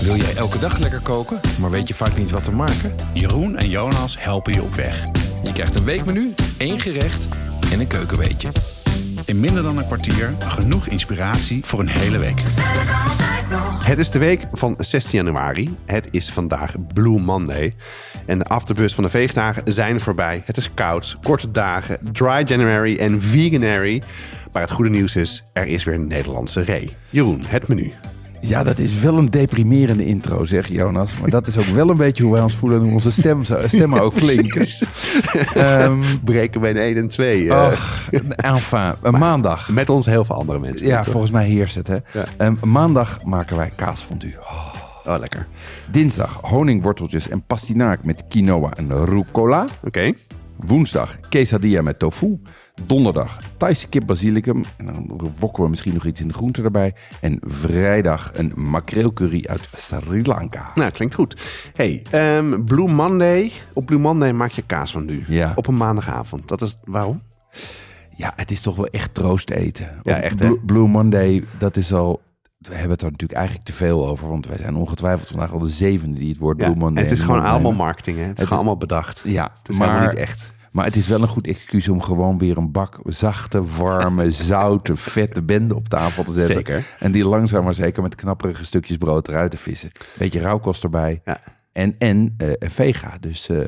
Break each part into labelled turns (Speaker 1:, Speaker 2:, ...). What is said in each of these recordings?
Speaker 1: Wil jij elke dag lekker koken, maar weet je vaak niet wat te maken?
Speaker 2: Jeroen en Jonas helpen je op weg.
Speaker 1: Je krijgt een weekmenu, één gerecht en een keukenweetje.
Speaker 2: In minder dan een kwartier genoeg inspiratie voor een hele week.
Speaker 3: Het is de week van 16 januari. Het is vandaag Blue Monday. En de afterbus van de feestdagen zijn voorbij. Het is koud, korte dagen, dry January en veganary. Maar het goede nieuws is, er is weer een Nederlandse ree. Jeroen, het menu.
Speaker 4: Ja, dat is wel een deprimerende intro, zeg Jonas. Maar dat is ook wel een beetje hoe wij ons voelen en hoe onze stem, stemmen ook klinken. Ehm
Speaker 3: Breken we in 1 en 2. eh,
Speaker 4: ach, enfin, een maandag.
Speaker 3: met ons heel veel andere mensen.
Speaker 4: Ja, volgens mij heerst het, hè.
Speaker 3: Ja.
Speaker 4: Ehm, maandag maken wij kaasfondue. Oh.
Speaker 3: Oh, lekker.
Speaker 4: Dinsdag honingworteltjes en pastinaak met quinoa en rucola.
Speaker 3: Oké.
Speaker 4: Woensdag quesadilla met tofu. Donderdag Thaise kip basilicum. En dan wokken we misschien nog iets in de groente erbij. En vrijdag een makreelcurry uit Sri Lanka.
Speaker 3: Nou, klinkt goed. Hey, ehm, Blue Monday. Op Blue Monday maak je kaas van nu.
Speaker 4: Ja.
Speaker 3: Op een maandagavond. Dat is waarom?
Speaker 4: Ja, het is toch wel echt troost eten.
Speaker 3: Ja,
Speaker 4: Want
Speaker 3: echt, hè?
Speaker 4: Blue, Blue Monday, dat is al... We hebben het er natuurlijk eigenlijk te veel over. Want wij zijn ongetwijfeld vandaag al de zevende die het woord
Speaker 3: Ja,
Speaker 4: Blue Monday...
Speaker 3: het is gewoon
Speaker 4: opnemen.
Speaker 3: allemaal marketing, hè? Het is
Speaker 4: Het-
Speaker 3: gewoon allemaal bedacht.
Speaker 4: Ja,
Speaker 3: Het is
Speaker 4: maar,
Speaker 3: helemaal niet echt.
Speaker 4: maar het is wel een goed excuus om gewoon weer een bak zachte, warme, zoute, vette bende op tafel te zetten.
Speaker 3: Zeker.
Speaker 4: En die langzaam maar zeker met knapperige stukjes brood eruit te vissen. Beetje rauwkost erbij.
Speaker 3: Ja.
Speaker 4: En, en eh, vega, dus eh,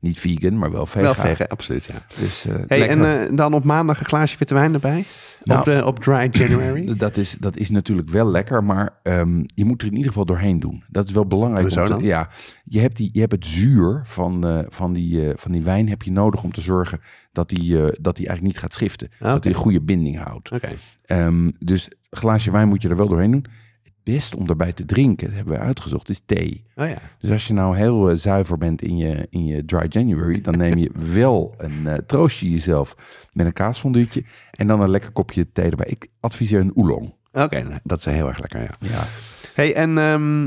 Speaker 4: niet vegan, maar wel vega.
Speaker 3: Wel vegen, absoluut, ja.
Speaker 4: Dus, eh,
Speaker 3: Hey,
Speaker 4: lekker.
Speaker 3: en eh, dan op maandag een glaasje witte wijn erbij?
Speaker 4: Nou.
Speaker 3: op, de, op Dry January?
Speaker 4: Dat is, dat is natuurlijk wel lekker, maar ehm, je moet er in ieder geval doorheen doen. Dat is wel belangrijk.
Speaker 3: Hoezo
Speaker 4: om te-
Speaker 3: dan?
Speaker 4: Ja, je hebt, die, je hebt het zuur van, eh, van, die, eh, van die wijn heb je nodig om te zorgen dat die, eh, dat die eigenlijk niet gaat schiften. Dat die een goede binding houdt.
Speaker 3: Ah, Oké.
Speaker 4: Ehm, dus een glaasje wijn moet je er wel doorheen doen. Het beste om daarbij te drinken, dat hebben we uitgezocht, is thee.
Speaker 3: Oh ja.
Speaker 4: Dus als je nou heel eh, zuiver bent in je, in je dry January, dan neem je wel een eh, troost je jezelf met een kaasfonduutje en dan een lekker kopje thee erbij. Ik adviseer een oolong.
Speaker 3: Oké, nou, dat is heel erg lekker, ja.
Speaker 4: Ja.
Speaker 3: Hey, en ehm,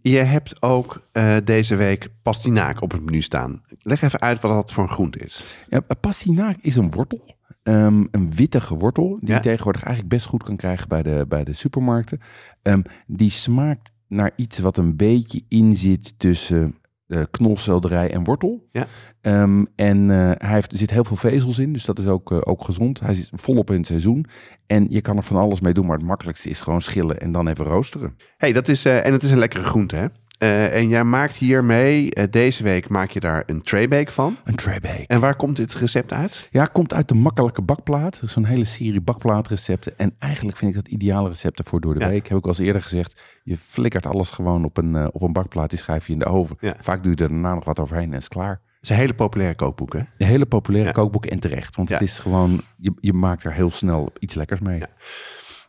Speaker 3: je hebt ook eh, deze week pastinaak op het menu staan. Leg even uit wat dat voor een groente is.
Speaker 4: ja pastinaak is een wortel. Ehm, een wittige wortel die
Speaker 3: Ja.
Speaker 4: je tegenwoordig eigenlijk best goed kan krijgen bij de, bij de supermarkten. Ehm, die smaakt naar iets wat een beetje in zit tussen eh knolselderij en wortel.
Speaker 3: Ja.
Speaker 4: Ehm, en eh, hij heeft, er zit heel veel vezels in, dus dat is ook, eh, ook gezond. Hij zit volop in het seizoen. En je kan er van alles mee doen, maar het makkelijkste is gewoon schillen en dan even roosteren.
Speaker 3: Hey, dat is, eh, en het is een lekkere groente, hè? Eh, en jij maakt hiermee, eh, deze week maak je daar een traybake van.
Speaker 4: Een traybake.
Speaker 3: En waar komt dit recept uit?
Speaker 4: Ja, komt uit de makkelijke bakplaat. Er is Zo'n hele serie bakplaatrecepten. En eigenlijk vind ik dat ideale recepten voor door de
Speaker 3: Ja.
Speaker 4: week. Heb ik al eens eerder gezegd. Je flikkert alles gewoon op een, eh, op een bakplaat. Die schrijf je in de oven.
Speaker 3: Ja.
Speaker 4: Vaak doe je er daarna nog wat overheen en is klaar.
Speaker 3: Het is een hele populaire kookboek, hè?
Speaker 4: Een hele populaire
Speaker 3: Ja.
Speaker 4: kookboek en terecht. Want het
Speaker 3: Ja.
Speaker 4: is gewoon, je, je maakt er heel snel iets lekkers mee.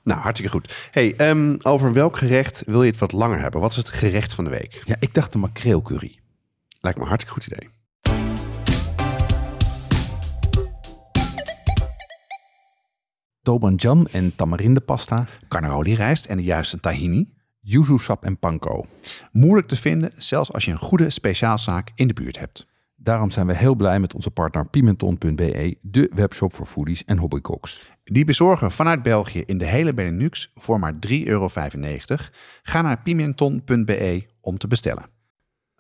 Speaker 3: Nou, hartstikke goed. Hey, ehm, over welk gerecht wil je het wat langer hebben? Wat is het gerecht van de week?
Speaker 4: Ja, ik dacht de makreelcurry.
Speaker 3: Lijkt me een hartstikke goed idee.
Speaker 5: Tobanjam en tamarindepasta,
Speaker 2: Carnaroli rijst en de juiste tahini.
Speaker 5: yuzu sap en panko.
Speaker 2: Moeilijk te vinden, zelfs als je een goede speciaalzaak in de buurt hebt.
Speaker 5: Daarom zijn we heel blij met onze partner pimenton.be, E, de webshop voor foodies en hobbycooks.
Speaker 2: Die bezorgen vanuit België in de hele Benelux voor maar 3,95 euro. Ga naar pimenton.be om te bestellen.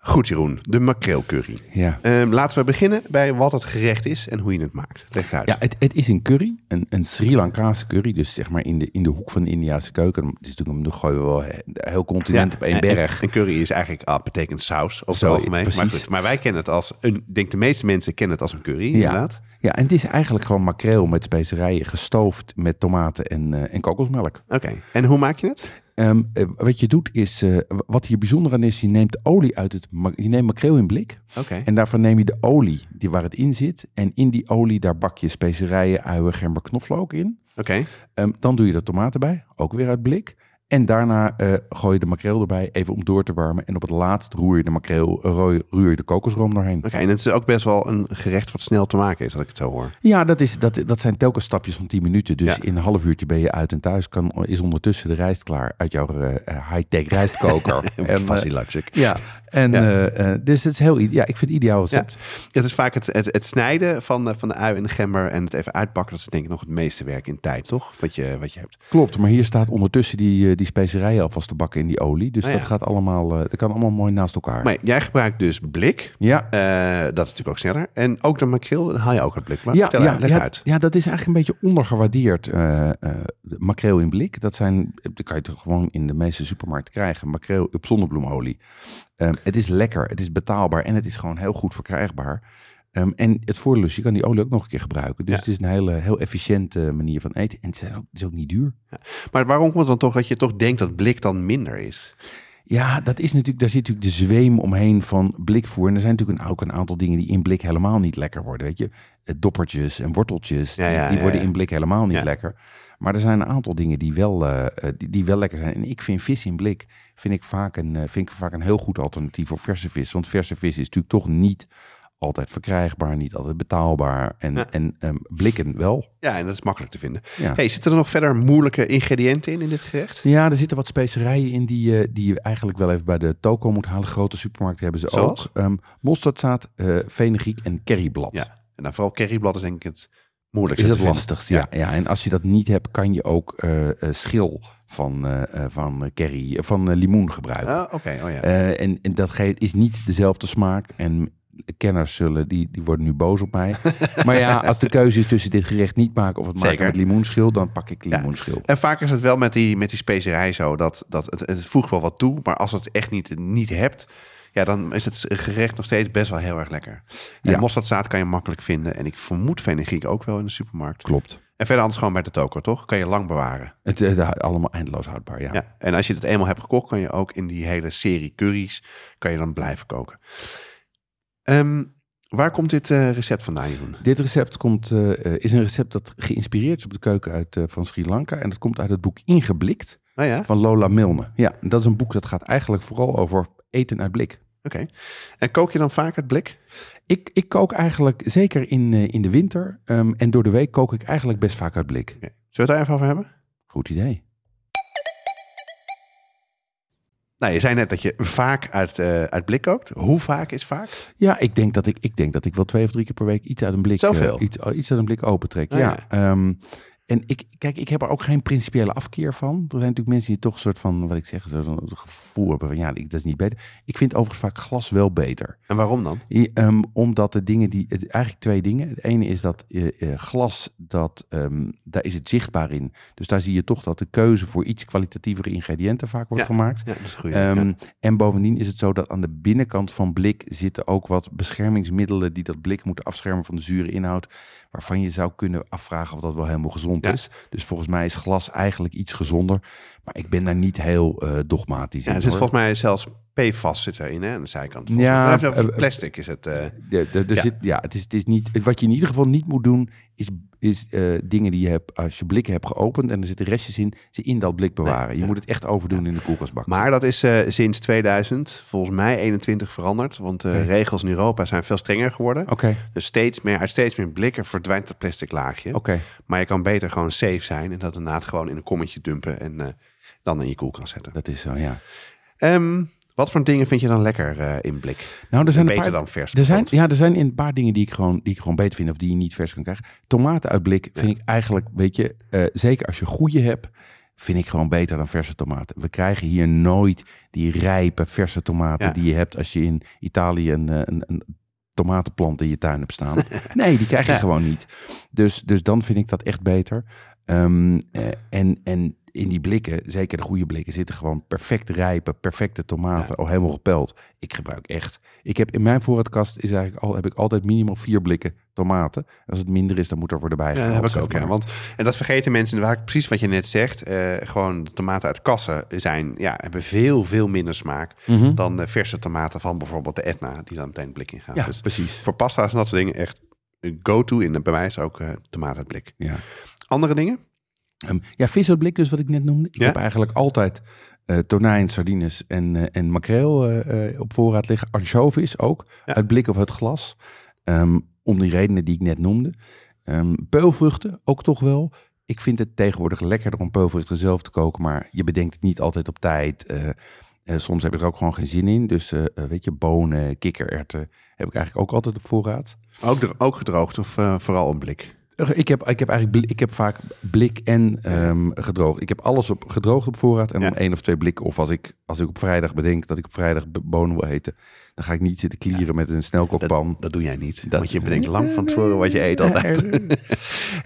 Speaker 3: Goed, Jeroen. De makreelcurry.
Speaker 4: Ja.
Speaker 3: Ehm, laten we beginnen bij wat het gerecht is en hoe je het maakt. Leg het uit.
Speaker 4: Ja, het, het is een curry, een, een Sri Lankaanse curry. Dus zeg maar in de, in de hoek van de Indiaanse keuken. Het is natuurlijk, dan gooien we wel he- heel continent op één
Speaker 3: en- en-
Speaker 4: berg.
Speaker 3: En curry is eigenlijk, ah, betekent saus over
Speaker 4: Zo,
Speaker 3: het algemeen. Maar,
Speaker 4: precies.
Speaker 3: goed, maar wij kennen het als, ik denk de meeste mensen kennen het als een curry, inderdaad.
Speaker 4: Ja, en het is eigenlijk gewoon makreel met specerijen, gestoofd met tomaten en, eh, en kokosmelk.
Speaker 3: Oké, en hoe maak je het?
Speaker 4: Ehm, eh, wat je doet is, eh, w- wat hier bijzonder aan is, je neemt olie uit het, ma- je neemt makreel in blik.
Speaker 3: Oké.
Speaker 4: En daarvan neem je de olie die, waar het in zit. En in die olie, daar bak je specerijen, uien, gember, knoflook in.
Speaker 3: Oké,
Speaker 4: Ehm, dan doe je de tomaten bij, ook weer uit blik. En daarna eh, gooi je de makreel erbij, even om door te warmen. En op het laatst roer je de makreel, eh, rooi- roer je de kokosroom doorheen.
Speaker 3: Oké, en het is ook best wel een gerecht wat snel te maken is, als ik het zo hoor.
Speaker 4: Ja, dat, is, dat, dat zijn telkens stapjes van 10 minuten. Dus
Speaker 3: Ja.
Speaker 4: in een half uurtje ben je uit en thuis. Kan, is ondertussen de rijst klaar uit jouw eh, eh, high-tech rijstkoker. en, eh,
Speaker 3: Fuzzy logic.
Speaker 4: ja, en,
Speaker 3: Ja.
Speaker 4: eh, eh, dus het is heel, i- ja, ik vind het ideaal recept.
Speaker 3: Het is vaak het, het, het snijden van de, van de ui en de gember en het even uitpakken. Dat is denk ik nog het meeste werk in tijd, toch? Wat je, wat je hebt.
Speaker 4: Klopt, maar hier staat ondertussen die, eh, die specerijen alvast te bakken in die olie. Dus
Speaker 3: Ah,
Speaker 4: dat
Speaker 3: ja.
Speaker 4: gaat allemaal, eh, dat kan allemaal mooi naast elkaar.
Speaker 3: Maar jij gebruikt dus blik.
Speaker 4: ja.
Speaker 3: Eh, dat is natuurlijk ook sneller. En ook de makreel dat haal je ook uit blik. Maar
Speaker 4: ja,
Speaker 3: vertel
Speaker 4: ja,
Speaker 3: uit, leg
Speaker 4: ja,
Speaker 3: uit.
Speaker 4: ja, dat is eigenlijk een beetje ondergewaardeerd. eh, eh, de makreel in blik, dat zijn, dat kan je toch gewoon in de meeste supermarkten krijgen. Makreel op zonnebloemolie. Ehm, het is lekker, het is betaalbaar en het is gewoon heel goed verkrijgbaar. Ehm, en het voordeel is, je kan die olie ook nog een keer gebruiken. Dus
Speaker 3: Ja.
Speaker 4: het is een hele, heel efficiënte manier van eten. En het, zijn ook, het is ook niet duur.
Speaker 3: Maar waarom komt het dan toch dat je toch denkt dat blik dan minder is?
Speaker 4: Ja, dat is natuurlijk, daar zit natuurlijk de zweem omheen van blikvoer. En er zijn natuurlijk een- ook een aantal dingen die in blik helemaal niet lekker worden. Weet je, Eh, doppertjes en worteltjes,
Speaker 3: Ja,
Speaker 4: die-
Speaker 3: ja,
Speaker 4: die,
Speaker 3: ja,
Speaker 4: worden
Speaker 3: ja.
Speaker 4: in blik helemaal niet
Speaker 3: Ja.
Speaker 4: lekker. Maar er zijn een aantal dingen die wel, eh, eh, die, die wel lekker zijn. En ik vind vis in blik vind ik vaak een, eh, vind ik vaak een heel goed alternatief voor verse vis. Want verse vis is natuurlijk toch niet altijd verkrijgbaar, niet altijd betaalbaar. En,
Speaker 3: Ja.
Speaker 4: en ehm, blikken wel.
Speaker 3: Ja, en dat is makkelijk te vinden.
Speaker 4: Ja.
Speaker 3: Hey, zitten er nog verder moeilijke ingrediënten in, in dit gerecht?
Speaker 4: Ja, er zitten wat specerijen in die, je- die je eigenlijk wel even bij de toko moet halen. Grote supermarkten hebben ze
Speaker 3: Zoals?
Speaker 4: ook. Ehm mosterdzaad, eh fenugreek en kerryblad.
Speaker 3: Ja. En dan vooral curryblad is denk ik het moeilijkste
Speaker 4: Is dat
Speaker 3: te vinden.
Speaker 4: lastig? Ja. Ja, en als je dat niet hebt, kan je ook eh, eh, schil van, eh, eh, van, eh, curry, eh, van eh, limoen gebruiken.
Speaker 3: Ah, Oké, oh ja.
Speaker 4: Eh, en, en dat ge- is niet dezelfde smaak. En kenners zullen, die, die worden nu boos op mij. maar ja, als de keuze is tussen dit gerecht niet maken of het
Speaker 3: Zeker.
Speaker 4: maken met limoenschil, dan pak ik limoenschil.
Speaker 3: En vaak is het wel met die, met die specerij zo dat, dat het, het voegt wel wat toe, maar als het echt niet, niet hebt, ja, dan is het gerecht nog steeds best wel heel erg lekker. En
Speaker 4: Ja.
Speaker 3: mosterdzaad kan je makkelijk vinden en ik vermoed fenugreek ook wel in de supermarkt.
Speaker 4: Klopt.
Speaker 3: En verder anders gewoon bij de toko, toch? Kan je lang bewaren.
Speaker 4: Het is allemaal eindeloos houdbaar, ja.
Speaker 3: Ja. En als je het eenmaal hebt gekocht, kan je ook in die hele serie curry's, kan je dan blijven koken. Ehm, waar komt dit eh, recept vandaan, Jeroen?
Speaker 4: Dit recept komt, eh, eh, is een recept dat geïnspireerd is op de keuken uit, eh, van Sri Lanka. En dat komt uit het boek Ingeblikt
Speaker 3: Nou ja, oké.
Speaker 4: van Lola Milne. Ja, dat is een boek dat gaat eigenlijk vooral over eten uit blik.
Speaker 3: En kook je dan vaak het blik?
Speaker 4: Ik, ik kook eigenlijk, zeker in, eh, in de winter ehm, en door de week, kook ik eigenlijk best vaak uit blik.
Speaker 3: Oké. Zullen we het daar even over hebben?
Speaker 4: Goed idee.
Speaker 3: Nou, je zei net dat je vaak uit, eh, uit blik kookt. Hoe vaak is vaak?
Speaker 4: Ja, ik denk dat ik, ik, denk dat ik wel twee of drie keer per week iets uit een blik,
Speaker 3: Zoveel?
Speaker 4: eh, iets, iets uit een blik opentrek.
Speaker 3: Ah,
Speaker 4: ja.
Speaker 3: ja.
Speaker 4: Ehm, en ik, kijk, ik heb er ook geen principiële afkeer van. Er zijn natuurlijk mensen die toch een soort van, wat ik zeg, zo'n gevoel hebben van, ja, ik, dat is niet beter. Ik vind overigens vaak glas wel beter.
Speaker 3: En waarom dan?
Speaker 4: I- ehm, omdat de dingen die, het- eigenlijk twee dingen. Het ene is dat eh, eh, glas, dat, ehm, daar is het zichtbaar in. Dus daar zie je toch dat de keuze voor iets kwalitatievere ingrediënten vaak wordt
Speaker 3: Ja.
Speaker 4: gemaakt.
Speaker 3: Ja, dat is goed.
Speaker 4: Ehm, En bovendien is het zo dat aan de binnenkant van blik zitten ook wat beschermingsmiddelen die dat blik moeten afschermen van de zure inhoud, waarvan je zou kunnen afvragen of dat wel helemaal gezond
Speaker 3: Ja.
Speaker 4: is. Dus volgens mij is glas eigenlijk iets gezonder, maar ik ben daar niet heel eh, dogmatisch
Speaker 3: ja,
Speaker 4: in.
Speaker 3: er zit
Speaker 4: hoor.
Speaker 3: volgens mij zelfs PFAS zit erin hè, aan de zijkant. Volgens
Speaker 4: Ja,
Speaker 3: mij. Maar even over
Speaker 4: eh,
Speaker 3: plastic is het. eh,
Speaker 4: De- de- er
Speaker 3: Ja.
Speaker 4: Zit, ja het is, het is niet, wat je in ieder geval niet moet doen, is, is eh, dingen die je hebt, als je blikken hebt geopend en er zitten restjes in, ze in dat blik bewaren. je moet het echt overdoen in de koelkastbak.
Speaker 3: maar dat is eh, sinds 2000, volgens mij 21 veranderd. Want de regels in Europa zijn veel strenger geworden.
Speaker 4: Oké,
Speaker 3: Dus steeds meer, uit steeds meer blikken verdwijnt dat plastic laagje.
Speaker 4: oké.
Speaker 3: Maar je kan beter gewoon safe zijn en dat inderdaad gewoon in een kommetje dumpen en eh, dan in je koelkast zetten.
Speaker 4: Dat is zo, ja.
Speaker 3: Ehm, wat voor dingen vind je dan lekker eh, in blik?
Speaker 4: Nou, er zijn een
Speaker 3: beter
Speaker 4: paar-
Speaker 3: dan vers.
Speaker 4: Er zijn,
Speaker 3: bijvoorbeeld.
Speaker 4: ja, er zijn een paar dingen die ik, gewoon, die ik gewoon beter vind of die je niet vers kan krijgen. Tomaten uit blik vind ik eigenlijk, weet je, eh, zeker als je goede hebt, vind ik gewoon beter dan verse tomaten. We krijgen hier nooit die rijpe verse tomaten
Speaker 3: Ja.
Speaker 4: die je hebt als je in Italië een, eh, een, een tomatenplant in je tuin hebt staan. nee, die krijg je
Speaker 3: Ja.
Speaker 4: gewoon niet. Dus, dus dan vind ik dat echt beter. Ehm, eh, en, en in die blikken, zeker de goede blikken, zitten gewoon perfect rijpe, perfecte tomaten. Al helemaal gepeld. Ik gebruik echt. Ik heb in mijn voorraadkast is eigenlijk al, heb ik altijd minimaal vier blikken tomaten. Als het minder is, dan moet er worden
Speaker 3: Ja,
Speaker 4: bijgehaald.
Speaker 3: dat Eh, heb ik
Speaker 4: zeg
Speaker 3: ook.
Speaker 4: maar.
Speaker 3: Ja, want, en dat vergeten mensen vaak precies wat je net zegt. Eh, gewoon de tomaten uit kassen zijn, ja, hebben veel, veel minder smaak
Speaker 4: Mhm.
Speaker 3: dan de verse tomaten van bijvoorbeeld de Etna, die dan meteen het blik ingaan.
Speaker 4: Ja,
Speaker 3: Dus
Speaker 4: precies.
Speaker 3: voor pasta's en dat soort dingen echt een go-to in de, bij mij is ook eh tomaten uit blik.
Speaker 4: Ja.
Speaker 3: Andere dingen?
Speaker 4: Ehm, ja, vis uit blik dus, wat ik net noemde. Ik
Speaker 3: Ja.
Speaker 4: heb eigenlijk altijd eh, tonijn, sardines en, eh, en makreel eh, eh, op voorraad liggen. Anchovies ook,
Speaker 3: Ja.
Speaker 4: uit blik of uit glas. Ehm, om die redenen die ik net noemde. Ehm peulvruchten ook toch wel. Ik vind het tegenwoordig lekkerder om peulvruchten zelf te koken, maar je bedenkt het niet altijd op tijd. Eh, eh, soms heb ik er ook gewoon geen zin in. Dus eh, eh, weet je, bonen, kikkererwten heb ik eigenlijk ook altijd op voorraad.
Speaker 3: Ook, dro- ook gedroogd of eh, vooral een blik?
Speaker 4: Ik heb, ik heb eigenlijk blik- ik heb vaak blik en ehm gedroogd. Ik heb alles op gedroogd op voorraad en
Speaker 3: Ja.
Speaker 4: dan één of twee blikken. Of als ik, als ik op vrijdag bedenk dat ik op vrijdag b- bonen wil eten, dan ga ik niet zitten klieren met een snelkookpan.
Speaker 3: Dat doe jij niet.
Speaker 4: Dat-
Speaker 3: want je bedenkt lang van tevoren wat je eet altijd. Hey,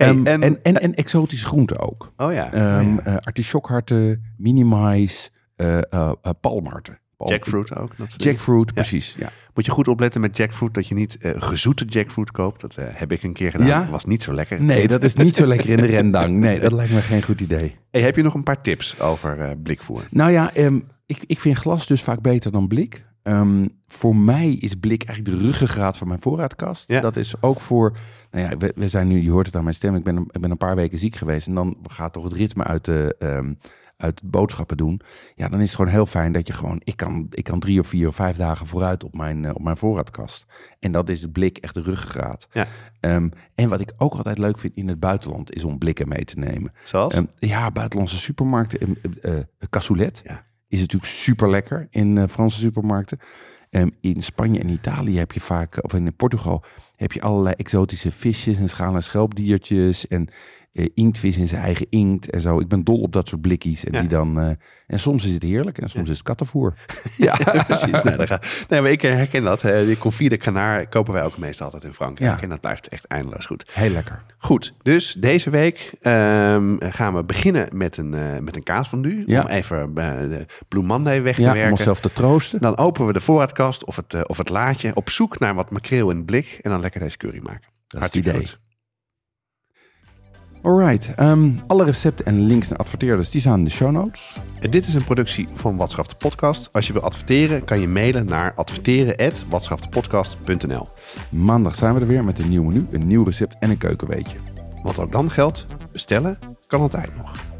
Speaker 4: Ehm,
Speaker 3: en-
Speaker 4: en, en, en, exotische groenten ook.
Speaker 3: Oh ja.
Speaker 4: Ehm eh artisjokharten, minimais, eh eh, eh, palmharten. Palm-
Speaker 3: jackfruit ook. Dat soort dingen.
Speaker 4: Jackfruit, precies. Ja.
Speaker 3: Moet je goed opletten met jackfruit dat je niet eh, gezoete jackfruit koopt. Dat eh, heb ik een keer gedaan.
Speaker 4: Ja?
Speaker 3: Was niet zo lekker.
Speaker 4: Nee,
Speaker 3: Eet.
Speaker 4: dat is niet zo lekker in de rendang. Nee, dat lijkt me geen goed idee.
Speaker 3: Hey, heb je nog een paar tips over eh, blikvoer?
Speaker 4: Nou ja, ehm, ik, ik vind glas dus vaak beter dan blik. Ehm, voor mij is blik eigenlijk de ruggengraat van mijn voorraadkast.
Speaker 3: Ja.
Speaker 4: Dat is ook voor. Nou ja, we, we zijn nu, je hoort het aan mijn stem. Ik ben, een- ik ben een paar weken ziek geweest. En dan gaat toch het ritme uit de. ehm, uit het boodschappen doen. Ja, dan is het gewoon heel fijn dat je gewoon. Ik kan, ik kan drie of vier of vijf dagen vooruit op mijn, eh, op mijn voorraadkast. En dat is het blik echt de ruggengraat.
Speaker 3: Ja.
Speaker 4: Ehm, en wat ik ook altijd leuk vind in het buitenland. is om blikken mee te nemen.
Speaker 3: Zoals?
Speaker 4: Ehm, ja, buitenlandse supermarkten. ehm, eh, eh, cassoulet
Speaker 3: Ja.
Speaker 4: is natuurlijk super lekker in eh, Franse supermarkten. Ehm, in Spanje en Italië heb je vaak, of in Portugal, heb je allerlei exotische visjes en schaal- en schelpdiertjes. En eh, inktvis in zijn eigen inkt en zo. Ik ben dol op dat soort blikkies. En,
Speaker 3: Ja.
Speaker 4: die dan, eh, en soms is het heerlijk en soms is het kattenvoer.
Speaker 3: Ja, precies. Nou, daar ga- nee, maar ik herken dat. hè. Die confit de canaar kopen wij ook meestal altijd in Frankrijk.
Speaker 4: Ja.
Speaker 3: En dat blijft echt eindeloos goed.
Speaker 4: Heel lekker.
Speaker 3: Goed, dus deze week ehm, gaan we beginnen met een, eh met een kaasfondue.
Speaker 4: Ja.
Speaker 3: Om even eh, de Blue Monday weg te
Speaker 4: Ja, om
Speaker 3: werken.
Speaker 4: onszelf te troosten.
Speaker 3: Dan openen we de voorraadkast of het, eh, of het laadje op zoek naar wat makreel in het blik. En dan lekker deze curry maken.
Speaker 4: het
Speaker 3: Hartstikke
Speaker 4: idee.
Speaker 3: goed.
Speaker 4: Alright, ehm, alle recepten en links naar adverteerders, die staan in de show notes.
Speaker 3: En dit is een productie van Watschaf de Podcast. Als je wil adverteren, kan je mailen naar adverteren.watschaftdepodcast.nl
Speaker 4: Maandag zijn we er weer met een nieuw menu, een nieuw recept en een keukenweetje.
Speaker 3: Want ook dan geldt, bestellen kan altijd nog.